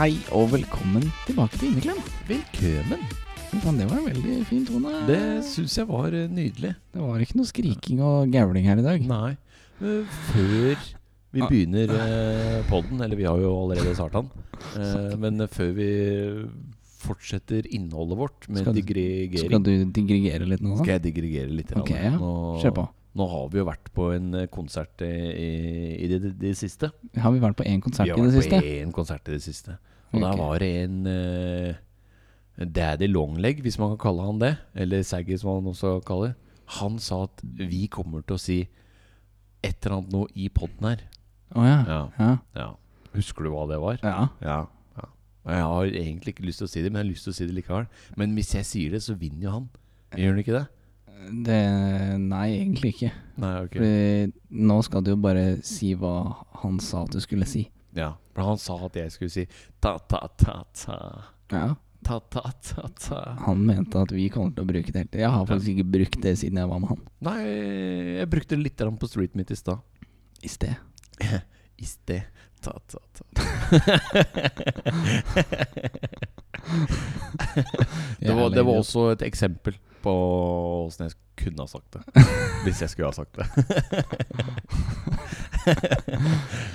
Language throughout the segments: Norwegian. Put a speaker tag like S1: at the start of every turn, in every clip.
S1: Hei og velkommen tilbake til Inneklem.
S2: Velkommen.
S1: Fy faen, Det var en veldig fin tone.
S2: Det syns jeg var eh, nydelig.
S1: Det var ikke noe skriking og gauling her i dag.
S2: Nei. Eh, Før vi
S1: Ah.
S2: begynner eh, podden, eller vi har jo allerede starta den, eh, men eh, før vi fortsetter innholdet vårt med
S1: Skal du- Skal
S2: digregering
S1: du digregere litt nå?
S2: Skal jeg digregere litt?
S1: Ok,
S2: grann?
S1: ja. Kjør
S2: Nå,
S1: på.
S2: nå har vi jo vært på en eh, konsert i, i, i det, det, det siste.
S1: Har vi vært på én konsert i
S2: vi har
S1: det
S2: vært
S1: siste?
S2: på én konsert i det siste. Og
S1: Ok.
S2: der var det en eh, Daddy Longleg, hvis man kan kalle han det. Eller Saggy, som han også kaller. Han sa at vi kommer til å si et eller annet noe i poden her.
S1: Å ja.
S2: Ja.
S1: Ja.
S2: ja. Husker du hva det var?
S1: ja.
S2: Ja. Og Jeg har egentlig ikke lyst til å si det, men jeg har lyst til å si det likevel. Men hvis jeg sier det, så vinner jo han. Gjør han ikke det?
S1: Det Nei, egentlig ikke.
S2: Nei, ok.
S1: Fordi nå skal du jo bare si hva han sa at du skulle si.
S2: Ja. For han sa at jeg skulle si ta-ta-ta-ta.
S1: Ja.
S2: Ta-ta-ta-ta.
S1: Han mente at vi kommer til å bruke det hele tiden. Jeg har faktisk ikke brukt det siden jeg var med han
S2: Nei, jeg brukte litt grann på Street Meet i stad.
S1: i sted.
S2: I sted. Ta, ta, ta. Det var, det var også et eksempel på åssen jeg kunne ha sagt det. Hvis jeg skulle ha sagt det.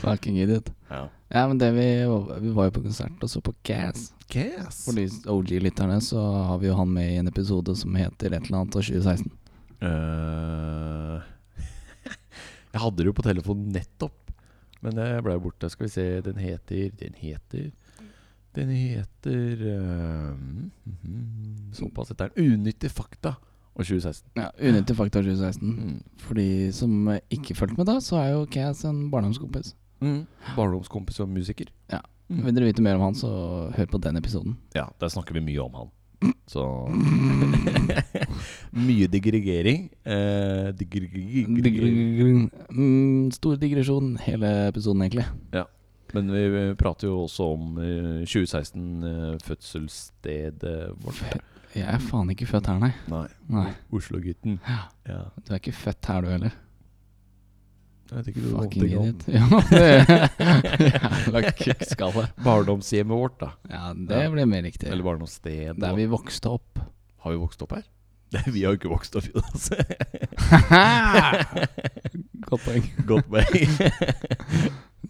S1: Fucking idiot.
S2: Ja.
S1: Ja, men det vi, vi var jo på konsert og så på Cass.
S2: Yes.
S1: For de OG-lytterne så har vi jo han med i en episode som heter et eller annet av 2016.
S2: Eh, jeg hadde det jo på telefonen nettopp, men jeg ble borte. Skal vi se, den heter Den heter Den heter eh, mhm, mhm, Såpass heter den. Unyttige fakta og 2016.
S1: Ja, Unyttig fakta av 2016.
S2: Mm.
S1: For de som ikke fulgte med da, så er jo Cass en barndomskompis.
S2: Mm. Barndomskompis og musiker.
S1: Ja.
S2: Mm.
S1: Vil dere vite mer om han, så hør på den episoden.
S2: Ja, der snakker vi mye om han.
S1: Mm.
S2: Så Mye digregering. Eh, digregering.
S1: Mm, Stor digresjon, hele episoden egentlig.
S2: Men vi eh, prater jo også om eh, 2016-fødselsstedet vårt.
S1: Jeg er faen ikke født her, nei.
S2: Nei,
S1: nei.
S2: Oslo-gutten.
S1: Ja.
S2: Ja.
S1: Du er ikke født her, du heller.
S2: Jeg vet ikke du
S1: Fucking
S2: vant engang.
S1: idiot. Ja, det- Jævla kukkskalle.
S2: Barndomshjemmet vårt, da.
S1: Ja, det ble mer riktig.
S2: Eller barndomsstedet.
S1: Der vi vokste opp.
S2: Har vi vokst opp her? Nei, vi har jo ikke vokst opp, Jonas.
S1: Godt poeng.
S2: Godt poeng.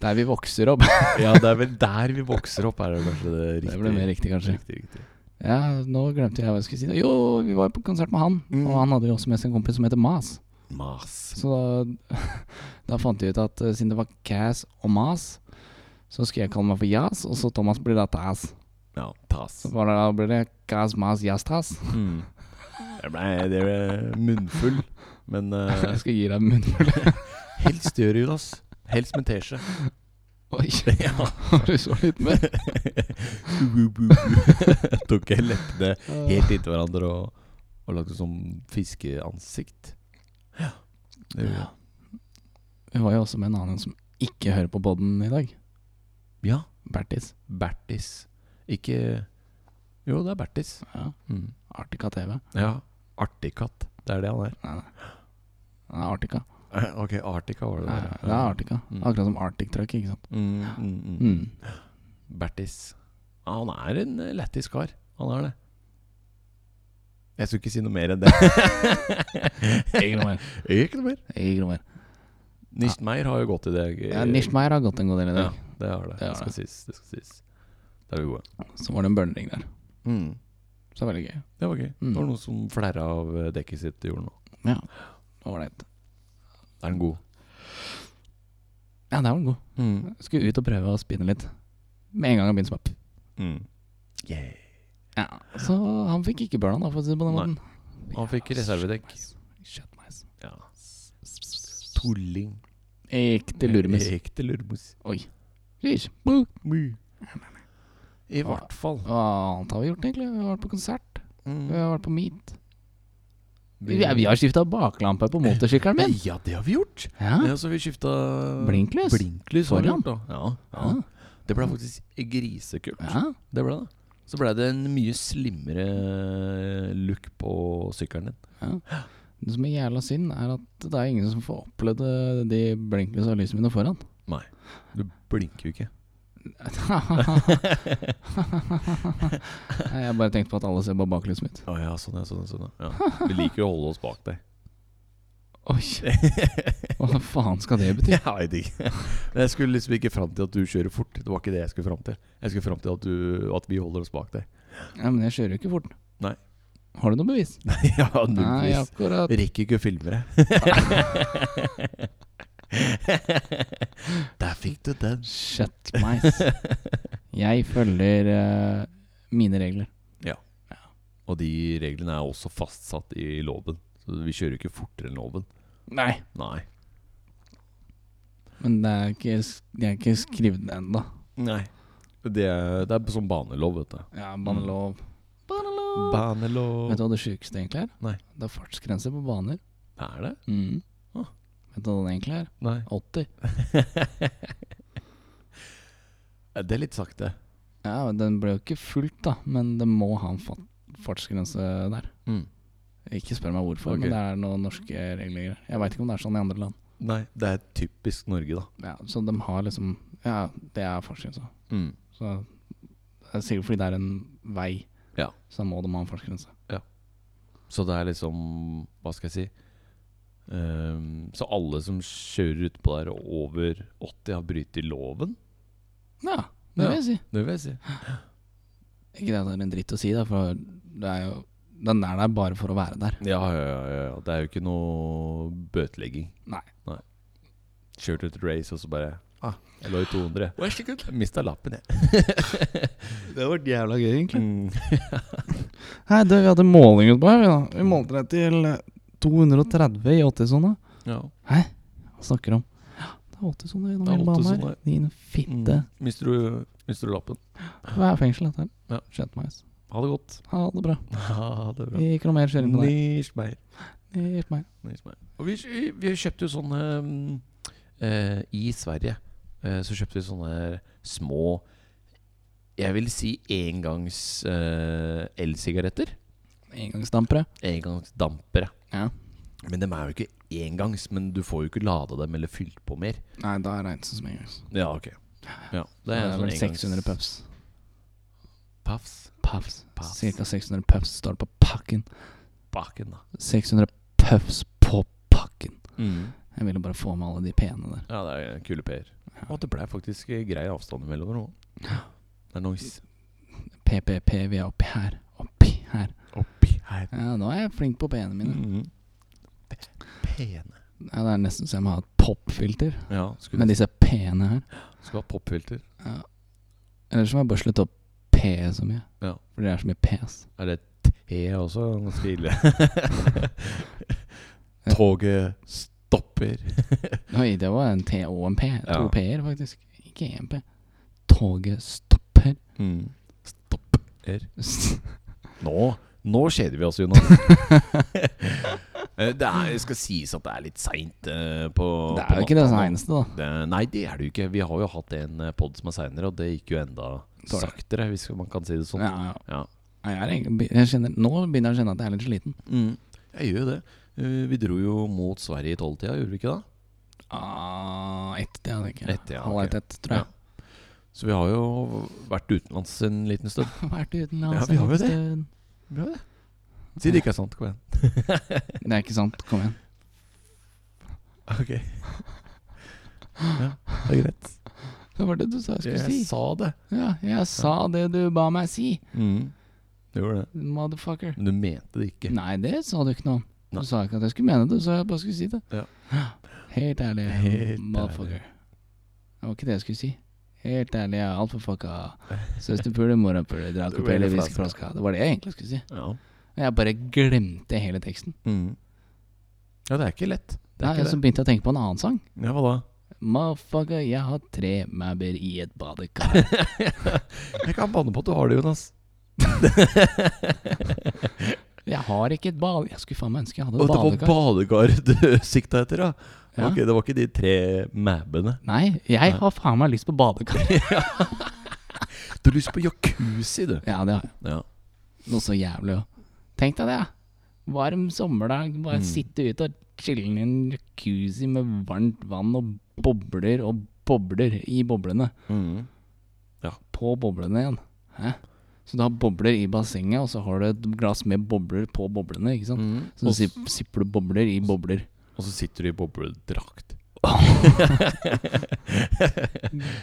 S1: Der vi vokser opp.
S2: ja, det er vel der vi vokser opp, er det kanskje det riktige.
S1: Det ble mer riktig, kanskje.
S2: Riktig, riktig.
S1: Ja, nå glemte jeg hva jeg skulle si. Jo, vi var jo på konsert med han.
S2: Mm.
S1: Og han hadde jo også med seg en kompis som heter Mas.
S2: Mas.
S1: Så da, da fant jeg ut at eh, siden det var Cass og Mas, så skulle jeg kalle meg for Jazz, og så Thomas blir da Taz.
S2: Ja, tas.
S1: Så bare da blir det Cass, Mas, Jazz, Taz.
S2: Mm. Det ble, det ble munnfull, men eh,
S1: Jeg skal gi deg en munnfull.
S2: helst gjør det, Jonas. Helst med teskje.
S1: Oi,
S2: Ja.
S1: har du så litt med?
S2: Tok jeg leppene helt inntil hverandre og, og lagde sånn fiskeansikt. Ja. Det gjorde jeg.
S1: Vi var jo også med en annen som ikke hører på podden i dag.
S2: ja.
S1: Bertis.
S2: Bertis. Ikke Jo, det er Bertis.
S1: Ja.
S2: Mm.
S1: Artica TV.
S2: Ja. Artikatt. Det er det han er.
S1: Nei, nei. Det er Artica.
S2: Eh, Ok, Artika var det
S1: Nei,
S2: der.
S1: det er Artica.
S2: Mm.
S1: Akkurat som Arctic Truck, ikke sant.
S2: Mm, mm, mm.
S1: Mm.
S2: Bertis. Ja, han er en eh, lættis kar. Han er det. Jeg skulle ikke si noe mer enn det.
S1: Ikke noe mer.
S2: Ikke noe mer.
S1: Ikke noe mer.
S2: Nistmeier har jo gått i det. eh,
S1: Ja, Nishmeyer har gått en god del i
S2: Ja,
S1: dag.
S2: det har det.
S1: Det har
S2: Det skal
S1: det.
S2: sies. Det skal sies. Da er vi gode.
S1: Så var det en burnering der.
S2: Mm.
S1: Så det var veldig gøy.
S2: Det var gøy.
S1: Mm.
S2: Det var noen som flerra av eh, dekket sitt i jorden nå.
S1: Ja. Ålreit.
S2: Er den god?
S1: Ja, der var den god.
S2: Mm.
S1: Skulle ut og prøve å spinne litt. Med en gang han begynte som opp.
S2: Mm. Yeah.
S1: Ja. Så han fikk ikke burna, da, for å si det på den
S2: Nei.
S1: måten.
S2: Han fikk reservedekk.
S1: Kjøttmeis.
S2: Ja. Tulling.
S1: Ekte luremus.
S2: Ekte lurmus. Mm.
S1: Oi. Sheesh. Boo.
S2: I hvert fall. Mm.
S1: Hva annet har vi gjort, egentlig? Vi har vært på konsert. Vi har vært på meet. Vi, vi har skifta baklampe på motorsykkelen min.
S2: Ja, det har vi gjort.
S1: Ja.
S2: Ja, så vi skifta
S1: Blinklys?
S2: Blinklys har vi
S1: Foran?
S2: gjort, da. Ja, ja.
S1: Ja.
S2: Det ble faktisk grisekult.
S1: ja.
S2: Det ble det. Så ble det en mye slimmere look på sykkelen din.
S1: Det som er jævla synd, er at det er ingen som får opplevd eh, de blinklysa og lysene mine foran.
S2: Du blinker jo ikke.
S1: Nei, Jeg bare tenkte på at alle ser på baklyset mitt.
S2: Å ja, sånn ja, sånn ja. Sånn, ja. ja. Vi liker å holde oss bak deg.
S1: Oi, hva faen skal det bety?
S2: Jeg vet ikke. Men jeg skulle liksom ikke fram til at du kjører fort. Det var ikke det jeg skulle fram til. Jeg skulle fram til at, du, at vi holder oss bak deg.
S1: Ja, men jeg kjører jo ikke fort.
S2: Nei.
S1: Har du noe bevis?
S2: ja,
S1: Nei,
S2: nullvis.
S1: akkurat.
S2: Rekker ikke å filme det. Der fikk du den.
S1: Shut meis. Jeg følger eh, mine regler.
S2: Og de reglene er også fastsatt i loven. Så vi kjører ikke fortere enn loven.
S1: Nei.
S2: Nei.
S1: Men det er ikke, det er ikke skrevet ned ennå.
S2: Nei. Det er, det er som banelov, vet du.
S1: Ja, banelov. Banelov.
S2: Banelov
S1: Vet du hva det sjukeste egentlig er?
S2: Nei.
S1: Det er fartsgrense på baner.
S2: Er det?
S1: Mm.
S2: Ah.
S1: Vet du hva den egentlig er?
S2: Nei.
S1: 80.
S2: Det er litt sakte.
S1: Ja, Den ble jo ikke fulgt, da, men det må ha en fa- fartsgrense der. Ikke spør meg hvorfor,
S2: Ok.
S1: men det er noen norske regler. Jeg veit ikke om det er sånn i andre land.
S2: Nei, det er typisk Norge, da.
S1: Ja, så de har liksom Ja, det er fartsgrensa. Så det er sikkert fordi det er en vei,
S2: Ja.
S1: så må de ha en fartsgrense.
S2: Så det er liksom Hva skal jeg si? Ehm, så alle som kjører utpå der over 80, har brytt loven?
S1: Ja, det
S2: Ja.
S1: vil jeg si.
S2: Det vil jeg si.
S1: Ikke det at det er en dritt å si, da, for det er jo den er der bare for å være der.
S2: Ja, ja, ja, ja, ja. Det er jo ikke noe bøtelegging.
S1: Nei.
S2: Kjørte et race, og så bare ah, Jeg lå i 200. Jeg Mista lappen, jeg.
S1: Det har vært jævla gøy, egentlig.
S2: Mm.
S1: Hei, du, vi hadde måling utpå her. Vi, da. vi målte deg til eh, 230 i 80-sona.
S2: Ja.
S1: Hva snakker du om? Ja, det er 80-sone gjennom
S2: Det er
S1: hele banen her.
S2: 80-sone.
S1: Din fitte.
S2: Mister, du, mister du lappen?
S1: Hva er fengsel, dette her?
S2: Ja.
S1: Skjønt meg. ass.
S2: Ha det godt.
S1: Ha det bra.
S2: Ha det
S1: Ikke noe mer kjøring på deg.
S2: Nischmeier.
S1: Ikke mer.
S2: Nischmeier. Og vi, vi kjøpte jo sånne mm, eh, I Sverige eh, så kjøpte vi sånne små Jeg vil si engangs eh, elsigaretter.
S1: Engangsdampere.
S2: Engangsdampere.
S1: Ja.
S2: Men de er jo ikke engangs, men du får jo ikke lada dem eller fylt på mer.
S1: Nei, da regnes det som engangs.
S2: Ja, ok. Ja,
S1: Det er,
S2: sånn
S1: vel
S2: engangs-
S1: 600 puffs.
S2: Puffs.
S1: Puffs.
S2: Puffs.
S1: Cirka 600 puffs står det på pakken.
S2: Baken, da.
S1: 600 puffs på pakken. Jeg ville bare få med alle de pene der.
S2: Ja, det er kule p-er. Og det ble faktisk eh, grei avstand mellom dem òg. Det er noise.
S1: PPP, vi er oppi her. Oppi her.
S2: Oppi her.
S1: Ja, nå er jeg flink på pene mine.
S2: Mm. Mhm. Pene.
S1: Ja, det er nesten så jeg må ha et popfilter
S2: Ja, skulle,
S1: med disse pene her.
S2: skulle ha popfilter.
S1: Ja. Ellers må jeg bare slutte å p så mye.
S2: Ja.
S1: For det er så mye pes.
S2: E Er det T også? Ganske ille. Toget stopper.
S1: Oi, det var en T og en P. To
S2: Ja.
S1: P-er, faktisk. Ikke én P. Toget stopper.
S2: Stopper. Mm. Nå nå kjeder vi oss, Jonas. Eh, det er, skal sies at det er litt seint på
S1: Det
S2: på
S1: er jo ikke det
S2: natta nå.
S1: eneste, da.
S2: Det- Nei, det er det jo ikke. Vi har jo hatt en pod som er seinere, og det gikk jo enda
S1: Dårlig.
S2: saktere, hvis man kan si det sånn.
S1: Ja, ja.
S2: Ja.
S1: Nei, Jeg er egentlig, jeg kjenner, nå begynner jeg å kjenne at jeg er litt sliten.
S2: Mm. Jeg gjør jo det. Eh, Vi dro jo mot Sverige i tolvtida, gjorde vi ikke det?
S1: Ah, ett, ja, tenker jeg.
S2: Ett, ja,
S1: Halv
S2: ok.
S1: ett, ett, tror jeg.
S2: Så vi har jo vært utenlands en liten stund.
S1: Vært utenlands
S2: Ja, vi har jo
S1: en
S2: det.
S1: stund.
S2: Si det ikke er sant, kom igjen.
S1: Det er ikke sant. Kom igjen.
S2: Ok. Ja, det er greit.
S1: Hva var det du sa jeg skulle si?
S2: sa det.
S1: Ja, jeg sa det du ba meg si,
S2: Mm. Du gjorde det.
S1: motherfucker.
S2: Men du mente det ikke.
S1: Nei, det sa du ikke noe om. Du
S2: Nei.
S1: sa ikke at jeg skulle mene det, så jeg bare skulle si det.
S2: Ja.
S1: Helt ærlig,
S2: Helt
S1: motherfucker. Det var ikke det jeg skulle si. Helt ærlig, jeg er altfor fucka. Søsterpule, morapule, drakepelle,
S2: Det var helt
S1: whiskeflaska. Det var det jeg egentlig skulle si.
S2: Ja.
S1: Men Jeg bare glemte hele teksten.
S2: Mm. ja, det er ikke lett. Det
S1: Nei,
S2: er ikke
S1: så begynte jeg å tenke på en annen sang.
S2: det. Ja, hva da?
S1: Motherfucker, jeg har tre mæber i et badekar.
S2: Jeg kan banne på at du har det, Jonas.
S1: Jeg har ikke et bade... Jeg skulle faen meg ønske jeg hadde
S2: Og
S1: et
S2: det var
S1: badekar.
S2: badekar du sikta etter, da.
S1: Ja.
S2: Ok, det var ikke de tre mæbene.
S1: Nei, jeg har faen meg lyst på badekar.
S2: Du har lyst på jacuzzi, du.
S1: Ja, det har jeg.
S2: Ja.
S1: Noe så jævlig òg. Tenk deg det, ja. Varm sommerdag, bare
S2: Mm.
S1: sitte ute og chille i en jacuzzi med varmt vann og bobler og bobler i boblene.
S2: Mm.
S1: På boblene igjen. Hæ? Så du har bobler i bassenget, og så har du et glass med bobler på boblene. ikke sant?
S2: Mm.
S1: Så
S2: Og,
S1: sipp- sipper du bobler i bobler.
S2: og så sitter du i bobledrakt.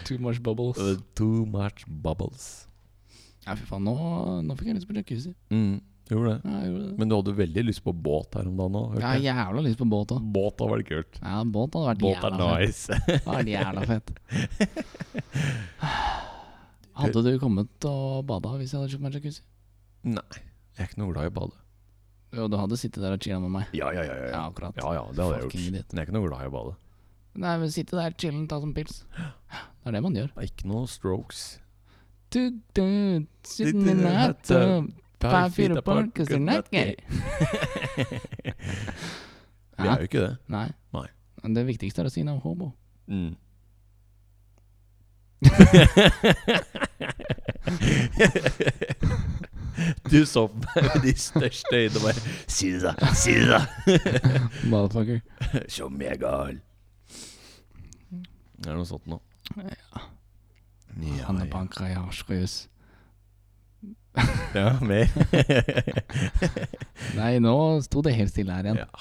S1: Too much bubbles.
S2: Uh, Too much bubbles.
S1: Ja, fy faen, nå, nå fikk jeg lyst på jacuzzi.
S2: Mm. Gjorde det.
S1: Ja, jeg gjorde det.
S2: Men du hadde veldig lyst på båt her om dagen òg.
S1: Jeg har jævla lyst på båt òg.
S2: Båt hadde vært kult.
S1: Ja, båt hadde vært
S2: Båt er
S1: jævla fett.
S2: nice.
S1: Det hadde vært jævla fett. Hadde du kommet og bada hvis jeg hadde kjøpt meg jacuzzi?
S2: Jeg er ikke noe glad i å bade.
S1: Jo, du hadde sittet der og chilla med meg.
S2: Ja, ja, ja.
S1: Ja, akkurat.
S2: Ja, ja, det hadde jeg gjort.
S1: Fucking idiot.
S2: Men jeg er ikke noe glad i å bade.
S1: Nei, men sitte der, chillen, ta sånn pils. Det er det man gjør.
S2: Det er Ikke noe strokes.
S1: Du, du, Sitting in a hot tub, five feet apart, 'cause they're not gay.
S2: Vi
S1: Hæ?
S2: er jo ikke det.
S1: Nei.
S2: Nei.
S1: Men det viktigste er å si no homo.
S2: Mm. du så på meg med de største øynene og bare Si det, da! Si det, da!
S1: Motherfucker.
S2: Som jeg er gal. Det er noe sånt nå. Ja,
S1: Han er
S2: ja.
S1: banka i hasjrus.
S2: ja mer.
S1: Nei, nå sto det helt stille her igjen.
S2: Ja.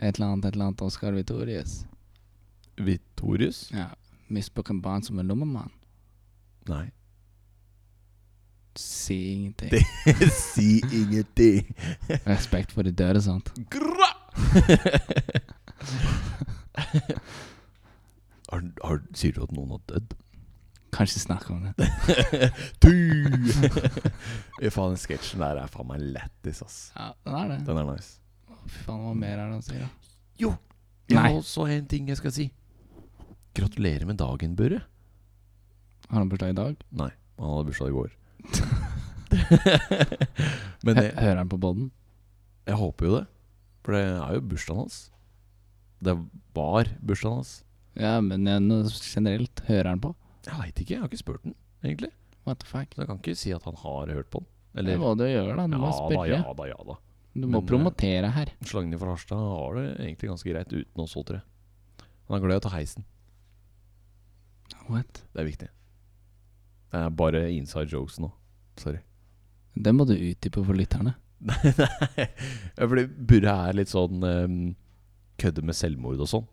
S1: Et eller annet, et eller annet Oscar Vitorius.
S2: Vitorius?
S1: Ja. Misbruker barn som en lommemann.
S2: Nei.
S1: Si ingenting.
S2: Det- si ingenting.
S1: Respekt for de døde, sant?
S2: Gra! har, har, sier du at noen har dødd?
S1: Kanskje snakke om det.
S2: Tu! Fy faen, den sketsjen der er faen meg lættis, ass.
S1: Ja, den er det.
S2: Den er nice.
S1: Fy faen, hva mer er det han sier? da?
S2: Jo,
S1: jeg har
S2: også en ting jeg skal si. Gratulerer med dagen, Børre.
S1: Har han bursdag i dag?
S2: Nei, han hadde bursdag i går. Men
S1: Hø-
S2: jeg,
S1: Hører han på podden?
S2: jeg håper jo det. For det er jo bursdagen hans. Det var bursdagen hans.
S1: Ja, men eh, nå generelt, hører han på?
S2: Jeg veit ikke, jeg har ikke spurt den, egentlig.
S1: What the fuck?
S2: Så jeg kan ikke si at han har hørt på den.
S1: Det
S2: Eller
S1: må du jo gjøre, da. Du må
S2: Ja da,
S1: spørre.
S2: ja da, ja da.
S1: Du må
S2: Men, eh,
S1: promotere her.
S2: Slangen fra Harstad har det egentlig ganske greit uten oss tre. Han er glad i å ta heisen.
S1: What?
S2: Det er viktig. Det er bare inside jokes nå. Sorry.
S1: Det må du utdype for lytterne.
S2: Nei, nei. Ja, Fordi Burre er litt sånn ehm, kødder med selvmord og sånn.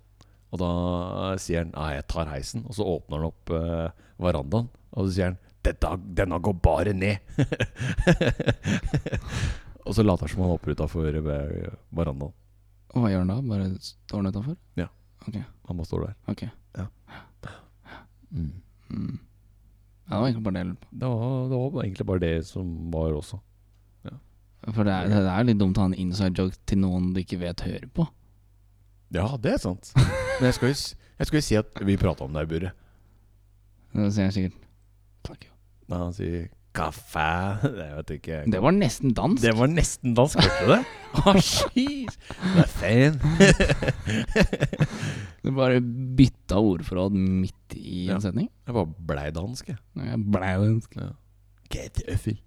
S2: Og da sier han 'nei, jeg tar heisen', og så åpner han opp eh, verandaen. Og så sier han 'Dette, denne går bare ned'. og så later han som han hopper utafor verandaen.
S1: Og hva gjør han da? Bare står han utafor?
S2: Ja.
S1: Ok.
S2: Han bare står der.
S1: ok
S2: Mm.
S1: mm. Ja, det var egentlig bare det jeg lurte på.
S2: Det var, det var egentlig bare det som var også.
S1: For det er, det er jo litt dumt å ha en inside joke til noen du ikke vet hører på.
S2: Ja, det er sant. Men jeg skal jo, s- jeg skal jo si at vi prata om deg, Burre.
S1: Da sier jeg sikkert Fuck you.
S2: Nei, han sier kaffe Jeg vet ikke.
S1: Det var nesten dans.
S2: Det var nesten dansk, hørte du det? Å, jeez. Det er fan.
S1: Du bare bytta ordforråd midt i
S2: Ja.
S1: en setning.
S2: Jeg bare blei dansk, jeg.
S1: Nei, Jeg blei dansk.
S2: Get tøffel.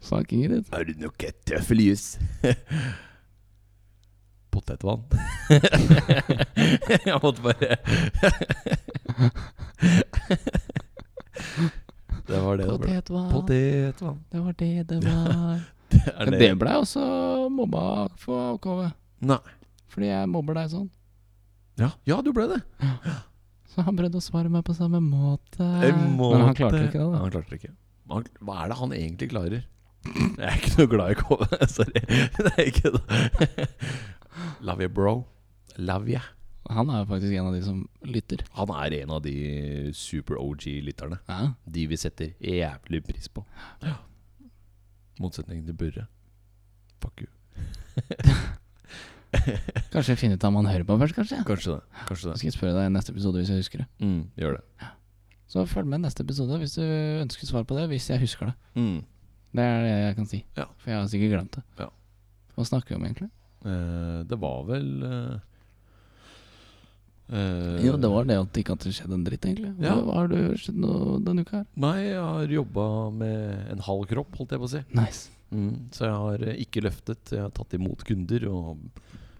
S1: Fucking idiot.
S2: Har du noe tøffeljus? Potetvann. jeg måtte bare Det var det det ble.
S1: Potetvann.
S2: Potetvann.
S1: Det var det det var.
S2: Er
S1: det blei også mobba for AKV.
S2: Nei.
S1: Fordi jeg mobber deg sånn.
S2: Ja, ja du ble det.
S1: Så han prøvde å svare meg på samme måte.
S2: En
S1: Men han
S2: måte-
S1: klarte ikke det, da.
S2: Han klarte det ikke. Han, hva er det han egentlig klarer? Jeg er ikke noe glad i KV. Sorry. Det er ikke det. Love you, bro. Love you.
S1: Han er jo faktisk en av de som lytter.
S2: Han er en av de super OG-lytterne.
S1: Ja.
S2: De vi setter jævlig pris på. Ja. Motsetningen til Burre. Fuck you.
S1: Kanskje jeg finner ut om han hører på først, kanskje.
S2: Kanskje det. Kanskje
S1: Så
S2: det.
S1: skal jeg spørre deg i neste episode hvis jeg husker det.
S2: Mm, gjør det.
S1: Så følg med i neste episode hvis du ønsker svar på det, hvis jeg husker det.
S2: Mm.
S1: Det er det jeg kan si.
S2: Ja.
S1: For jeg har sikkert glemt det.
S2: Ja.
S1: Hva snakker vi om egentlig?
S2: Eh, det var vel eh, eh,
S1: jo, det var det at det ikke hadde skjedd en dritt, egentlig. Hva,
S2: Ja.
S1: hva har du skjedd noe denne uka her?
S2: Nei, jeg har jobba med en halv kropp, holdt jeg på å si.
S1: Nice. Mm.
S2: Så jeg har eh, ikke løftet. Jeg har tatt imot kunder og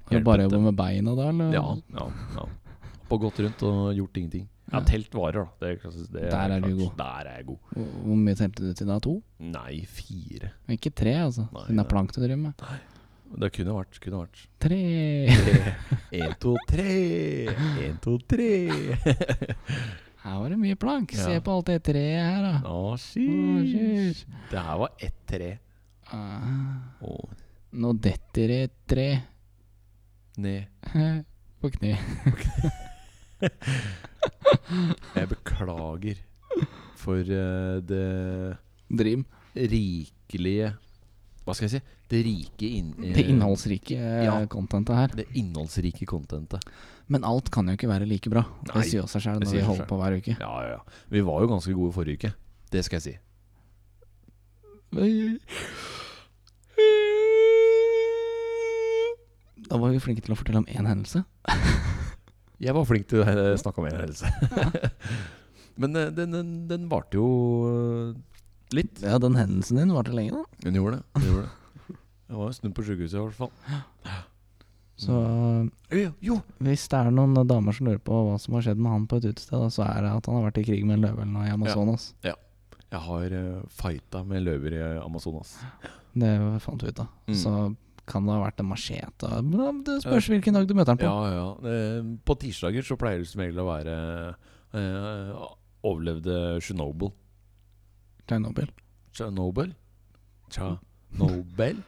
S1: Har
S2: Hjelpet
S1: du bare
S2: til.
S1: jobba med beina da, eller?
S2: Ja. ja, ja. På gått rundt og gjort ingenting. Jeg har
S1: Ja.
S2: telt varer, da. Det, er klassisk- det
S1: Der er du
S2: klart. Der er jeg god.
S1: Hvor, hvor mye telte du til da? To?
S2: Nei, fire.
S1: Ikke tre, altså.
S2: Nei,
S1: Siden det
S2: nei.
S1: er plank du driver med.
S2: Det kunne vært. Kunne vært.
S1: Tre
S2: Én, to, tre. Én, to, tre.
S1: Her var det mye plank. Se
S2: Ja.
S1: på alt det treet her, da.
S2: Å,
S1: Å,
S2: sheesh.
S1: sheesh.
S2: Det her var ett tre.
S1: Ah,
S2: Og
S1: nå detter det et tre
S2: ned.
S1: på kne.
S2: Jeg beklager for eh, det
S1: Dream.
S2: rikelige Hva skal jeg si? Det rike inn, eh,
S1: Det innholdsrike eh,
S2: Ja.
S1: contentet her.
S2: det innholdsrike contentet.
S1: Men alt kan jo ikke være like bra.
S2: Nei,
S1: Det sier jo seg sjøl
S2: det
S1: når vi
S2: sier seg
S1: holder på hver uke.
S2: Ja, ja, ja. Vi var jo ganske gode forrige uke. Det skal jeg si.
S1: Da var vi flinke til å fortelle om én hendelse.
S2: Jeg var flink til å eh, snakke om enhelse. Men eh, den, den, den varte jo eh, litt.
S1: Ja, Den hendelsen din varte lenge, da.
S2: Hun gjorde det. Hun gjorde det. Jeg var en stund på sjukehuset i hvert fall.
S1: Så
S2: Jo, Mm. jo.
S1: hvis det er noen damer som lurer på hva som har skjedd med han på et utested, da, så er det at han har vært i krig med en løve eller noe i Amazonas.
S2: Jeg har uh, fighta med løver i Amazonas.
S1: Det fant vi ut av.
S2: Mm.
S1: Så kan det ha vært en machete. Ja, Det spørs hvilken dag du møter han på.
S2: Ja, ja. Eh, På tirsdager så pleier det som regel å være eh, overlevde Chernobyl.
S1: Tsjernobyl.
S2: Chernobyl? Chernobyl?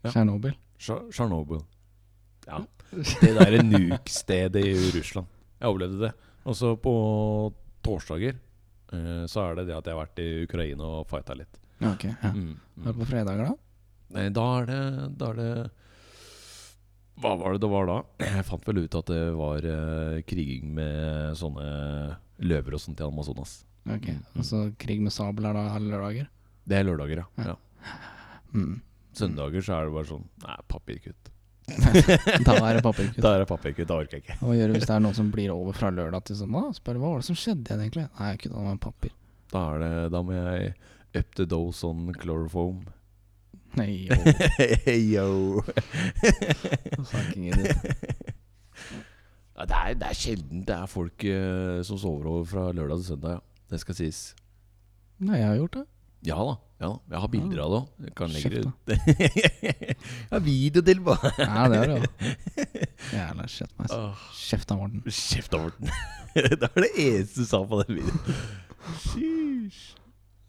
S2: Ja.
S1: Tsjernobyl.
S2: Cher- Chernobyl. Ja. Det derre nuke-stedet i Russland. Jeg overlevde det. Og så på torsdager eh, så er det det at jeg har vært i Ukraina og fighta litt.
S1: Ja, ok, ja.
S2: Mm,
S1: Er det
S2: mm.
S1: på fredager, da?
S2: Nei, da er det Da er det Hva var det det var da? Jeg fant vel ut at det var eh, kriging med sånne løver og sånt i Amazonas.
S1: Ok,
S2: Mm.
S1: Altså krig med sabel er da alle lørdager?
S2: Det er lørdager, ja. ja.
S1: Mm.
S2: Søndager så er det bare sånn Nei, papirkutt.
S1: Da er det papirkutt.
S2: Da er det papirkutt, da orker jeg ikke.
S1: Hva gjør du hvis det er noen som blir over fra lørdag til søndag? Spør hva var det som skjedde igjen, egentlig? Nei, jeg kutta meg papir.
S2: Da, er det, da må jeg up the dose on chloroform.
S1: Nei, jo.
S2: Yo.
S1: Snakkingen din.
S2: Ja, det, er, det er sjelden det er folk eh, som sover over fra lørdag til søndag. Ja. Det skal sies.
S1: Nei, jeg har gjort det.
S2: Ja da. ja da Jeg har bilder av det òg. Jeg kan legge det
S1: Kjeft,
S2: ut. Jeg har video til på.
S1: Nei, det har du jo. Jævla kjeft, meg. Kjeft av Morten.
S2: Kjeft av Morten. det var det eneste du sa på den videoen. Sheesh.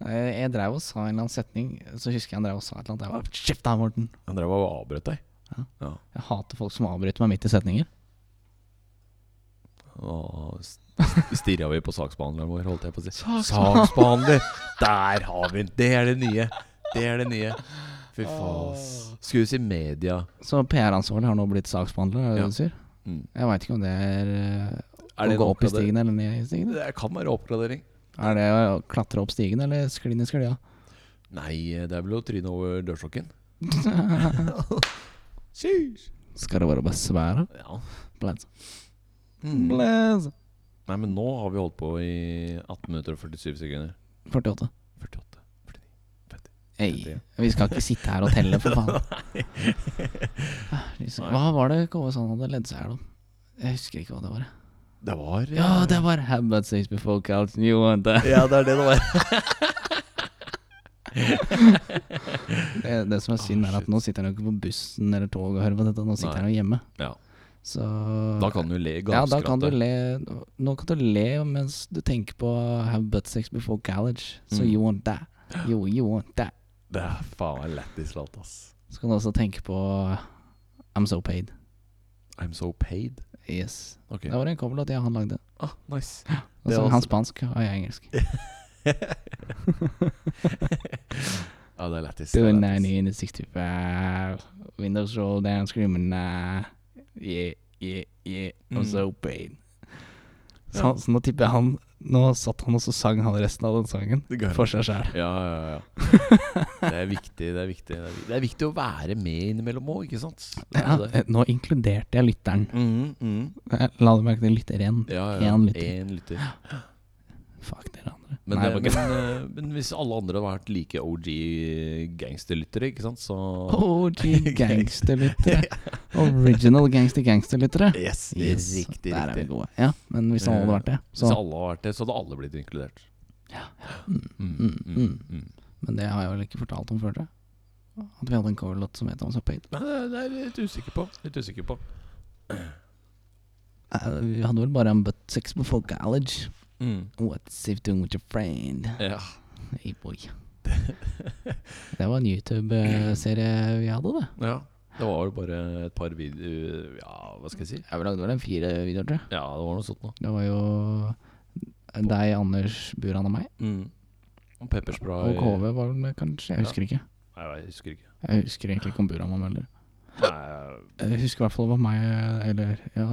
S1: Jeg, jeg drev og sa en eller annen setning, så husker jeg han drev og sa et eller annet. Jeg var, kjeft av Morten!
S2: Han drev og avbrøt deg.
S1: Ja.
S2: ja.
S1: Jeg hater folk som avbryter meg midt i setninger.
S2: Og stirra vi på saksbehandleren vår, holdt jeg på å si.
S1: Saksbehandler.
S2: Saksbehandler! Der har vi den! Det er det nye. Det er det nye. Fy faen. ass. Skulle si media.
S1: Så PR-ansvarlig har nå blitt saksbehandler, er det det
S2: Ja.
S1: du sier?
S2: Mm.
S1: Jeg veit ikke om det er, eh,
S2: Er
S1: å gå opp
S2: det en
S1: i
S2: oppgrader-
S1: stigen eller ned i stigen.
S2: Det kan være oppgradering.
S1: Er det å klatre opp stigen eller skli ned sklia?
S2: Nei, det er vel å tryne over dørstokken.
S1: Skal det bare bare svære?
S2: Ja.
S1: Bless.
S2: Mm.
S1: Bless.
S2: Nei, men nå har vi holdt på i 18 minutter og 47 sekunder.
S1: 48.
S2: 48, 49
S1: Ei, vi skal ikke sitte her og telle, for faen. Ah, liksom. Hva var det KS han hadde ledd seg her, da? Jeg husker ikke hva det var. jeg.
S2: Det var eh,
S1: Ja, det var How about sex before couch? You want that?
S2: ja, det er det det var.
S1: Det, det som er synd, er at nå sitter han jo ikke på bussen eller toget og hører på dette, nå sitter
S2: Nei.
S1: han jo hjemme.
S2: Ja.
S1: Så
S2: Da kan du le
S1: Ja, da kan du
S2: gapskratte.
S1: le Nå kan du le mens du tenker på Have butt sex before college. So
S2: Mm.
S1: you want that. You, you want that.
S2: Det er faen lættis lalt, ass.
S1: Så kan du også tenke på uh, I'm so paid.
S2: I'm so paid.
S1: Yes.
S2: Ok.
S1: Det var en coverlåt jeg han lagde.
S2: Ah, nice.
S1: Og
S2: Det
S1: så
S2: er
S1: han
S2: altså-
S1: spansk, og jeg engelsk.
S2: Ja, det er lættis. det er
S1: Doing
S2: lættis.
S1: 90 in the 65. eh, Windows roll eh, down, screaming nah. Yeah, yeah, yeah. I'm
S2: Mm.
S1: so paid. Så, han, så nå tipper jeg han Nå satt han og så sang han resten av den sangen
S2: Det går.
S1: for seg sjæl.
S2: Ja, ja, ja. Det er viktig, det er viktig. Det er, vi- det er viktig å være med innimellom òg, ikke sant? Det er
S1: Ja,
S2: det.
S1: eh, nå inkluderte jeg lytteren.
S2: Mhm, mhm.
S1: Eh, La du merke til lytteren?
S2: Ja, ja.
S1: En lytter.
S2: En lytter.
S1: Fuck dere andre.
S2: Men,
S1: Nei,
S2: eh,
S1: jeg bare
S2: men, eh, men hvis alle andre hadde vært like OG gangsterlyttere, ikke sant, så
S1: OG gangsterlyttere. Original gangster-gangsterlyttere.
S2: Yes,
S1: Yes,
S2: riktig,
S1: der er vi
S2: riktig.
S1: gode. Ja, men hvis han hadde vært det,
S2: Hvis
S1: så
S2: alle hadde vært det, så hadde alle blitt inkludert.
S1: mm.
S2: Mm,
S1: Mm,
S2: mm,
S1: mm.
S2: mm.
S1: Men det har jeg vel ikke fortalt om før, tror jeg. At vi hadde en coverlåt som het I'm So Paid.
S2: Nei, det er- det er jeg litt usikker på. Litt usikker på.
S1: Eh, Vi hadde vel bare en butt sex before college.
S2: Mm.
S1: What's if doing with your friend?
S2: Ja.
S1: Hey boy. Det var en YouTube-serie vi hadde, det.
S2: ja. Det var vel bare et par videoer Ja, hva skal jeg si?
S1: Jeg lagde vel en fire videoer, tror jeg.
S2: Ja, det var noe sånt noe.
S1: Det var jo deg, Anders, Buran og meg.
S2: Mm. Og pepperspray
S1: Og KV var vel med, kanskje. Jeg husker ikke.
S2: Nei, jeg husker ikke.
S1: Jeg husker egentlig ikke om Buran var med heller.
S2: Nei,
S1: Jeg husker i hvert fall det var meg, eller ja,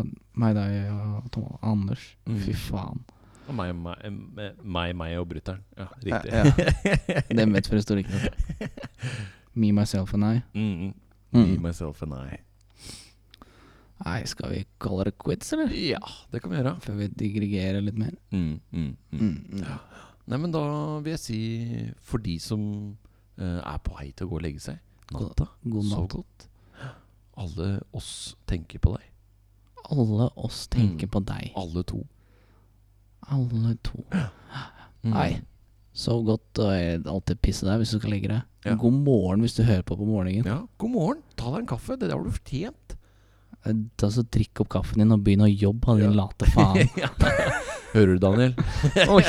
S1: meg, deg og Tom Anders.
S2: Mm.
S1: Fy faen.
S2: og meg, meg, meg, meg, meg og brytteren. Ja, riktig.
S1: Ja, Det er mest for historikken. Me, myself and I.
S2: Mm,
S1: Mm.
S2: Me, myself and I.
S1: Nei, skal vi kalle det quits, eller?
S2: Ja, det kan vi gjøre.
S1: Før vi digregerer litt mer.
S2: Mm, mm, mm.
S1: Mm, mm.
S2: Nei, men da vil jeg si for de som eh, er på vei til å gå og legge seg natta,
S1: God
S2: sov
S1: natt.
S2: godt. Alle oss tenker på deg.
S1: Alle oss tenker
S2: Mm.
S1: på deg.
S2: Alle to.
S1: Alle to.
S2: Mm.
S1: Nei. Sov godt og eh, alltid pisse deg hvis du skal ligge deg.
S2: Ja.
S1: God morgen hvis du hører på på morgenen.
S2: Mm. Ja, god morgen. Ta deg en kaffe. Det har du fortjent.
S1: Eh, Da så Drikk opp kaffen din og begynn å jobbe, din
S2: Ja.
S1: late faen.
S2: Ja. Hører du, Daniel?
S1: Oi.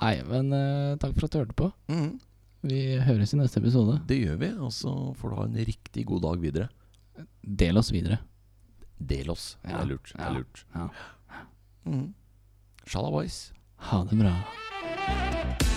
S1: Nei, men eh, takk for at du hørte på.
S2: Mm.
S1: Vi høres i neste episode.
S2: Det gjør vi, og så får du ha en riktig god dag videre.
S1: Del oss videre.
S2: Del oss. Det
S1: Ja.
S2: er lurt. Det
S1: Ja.
S2: er lurt.
S1: Ja.
S2: Mm. Shalabais.
S1: Ha det bra.
S3: Thank you.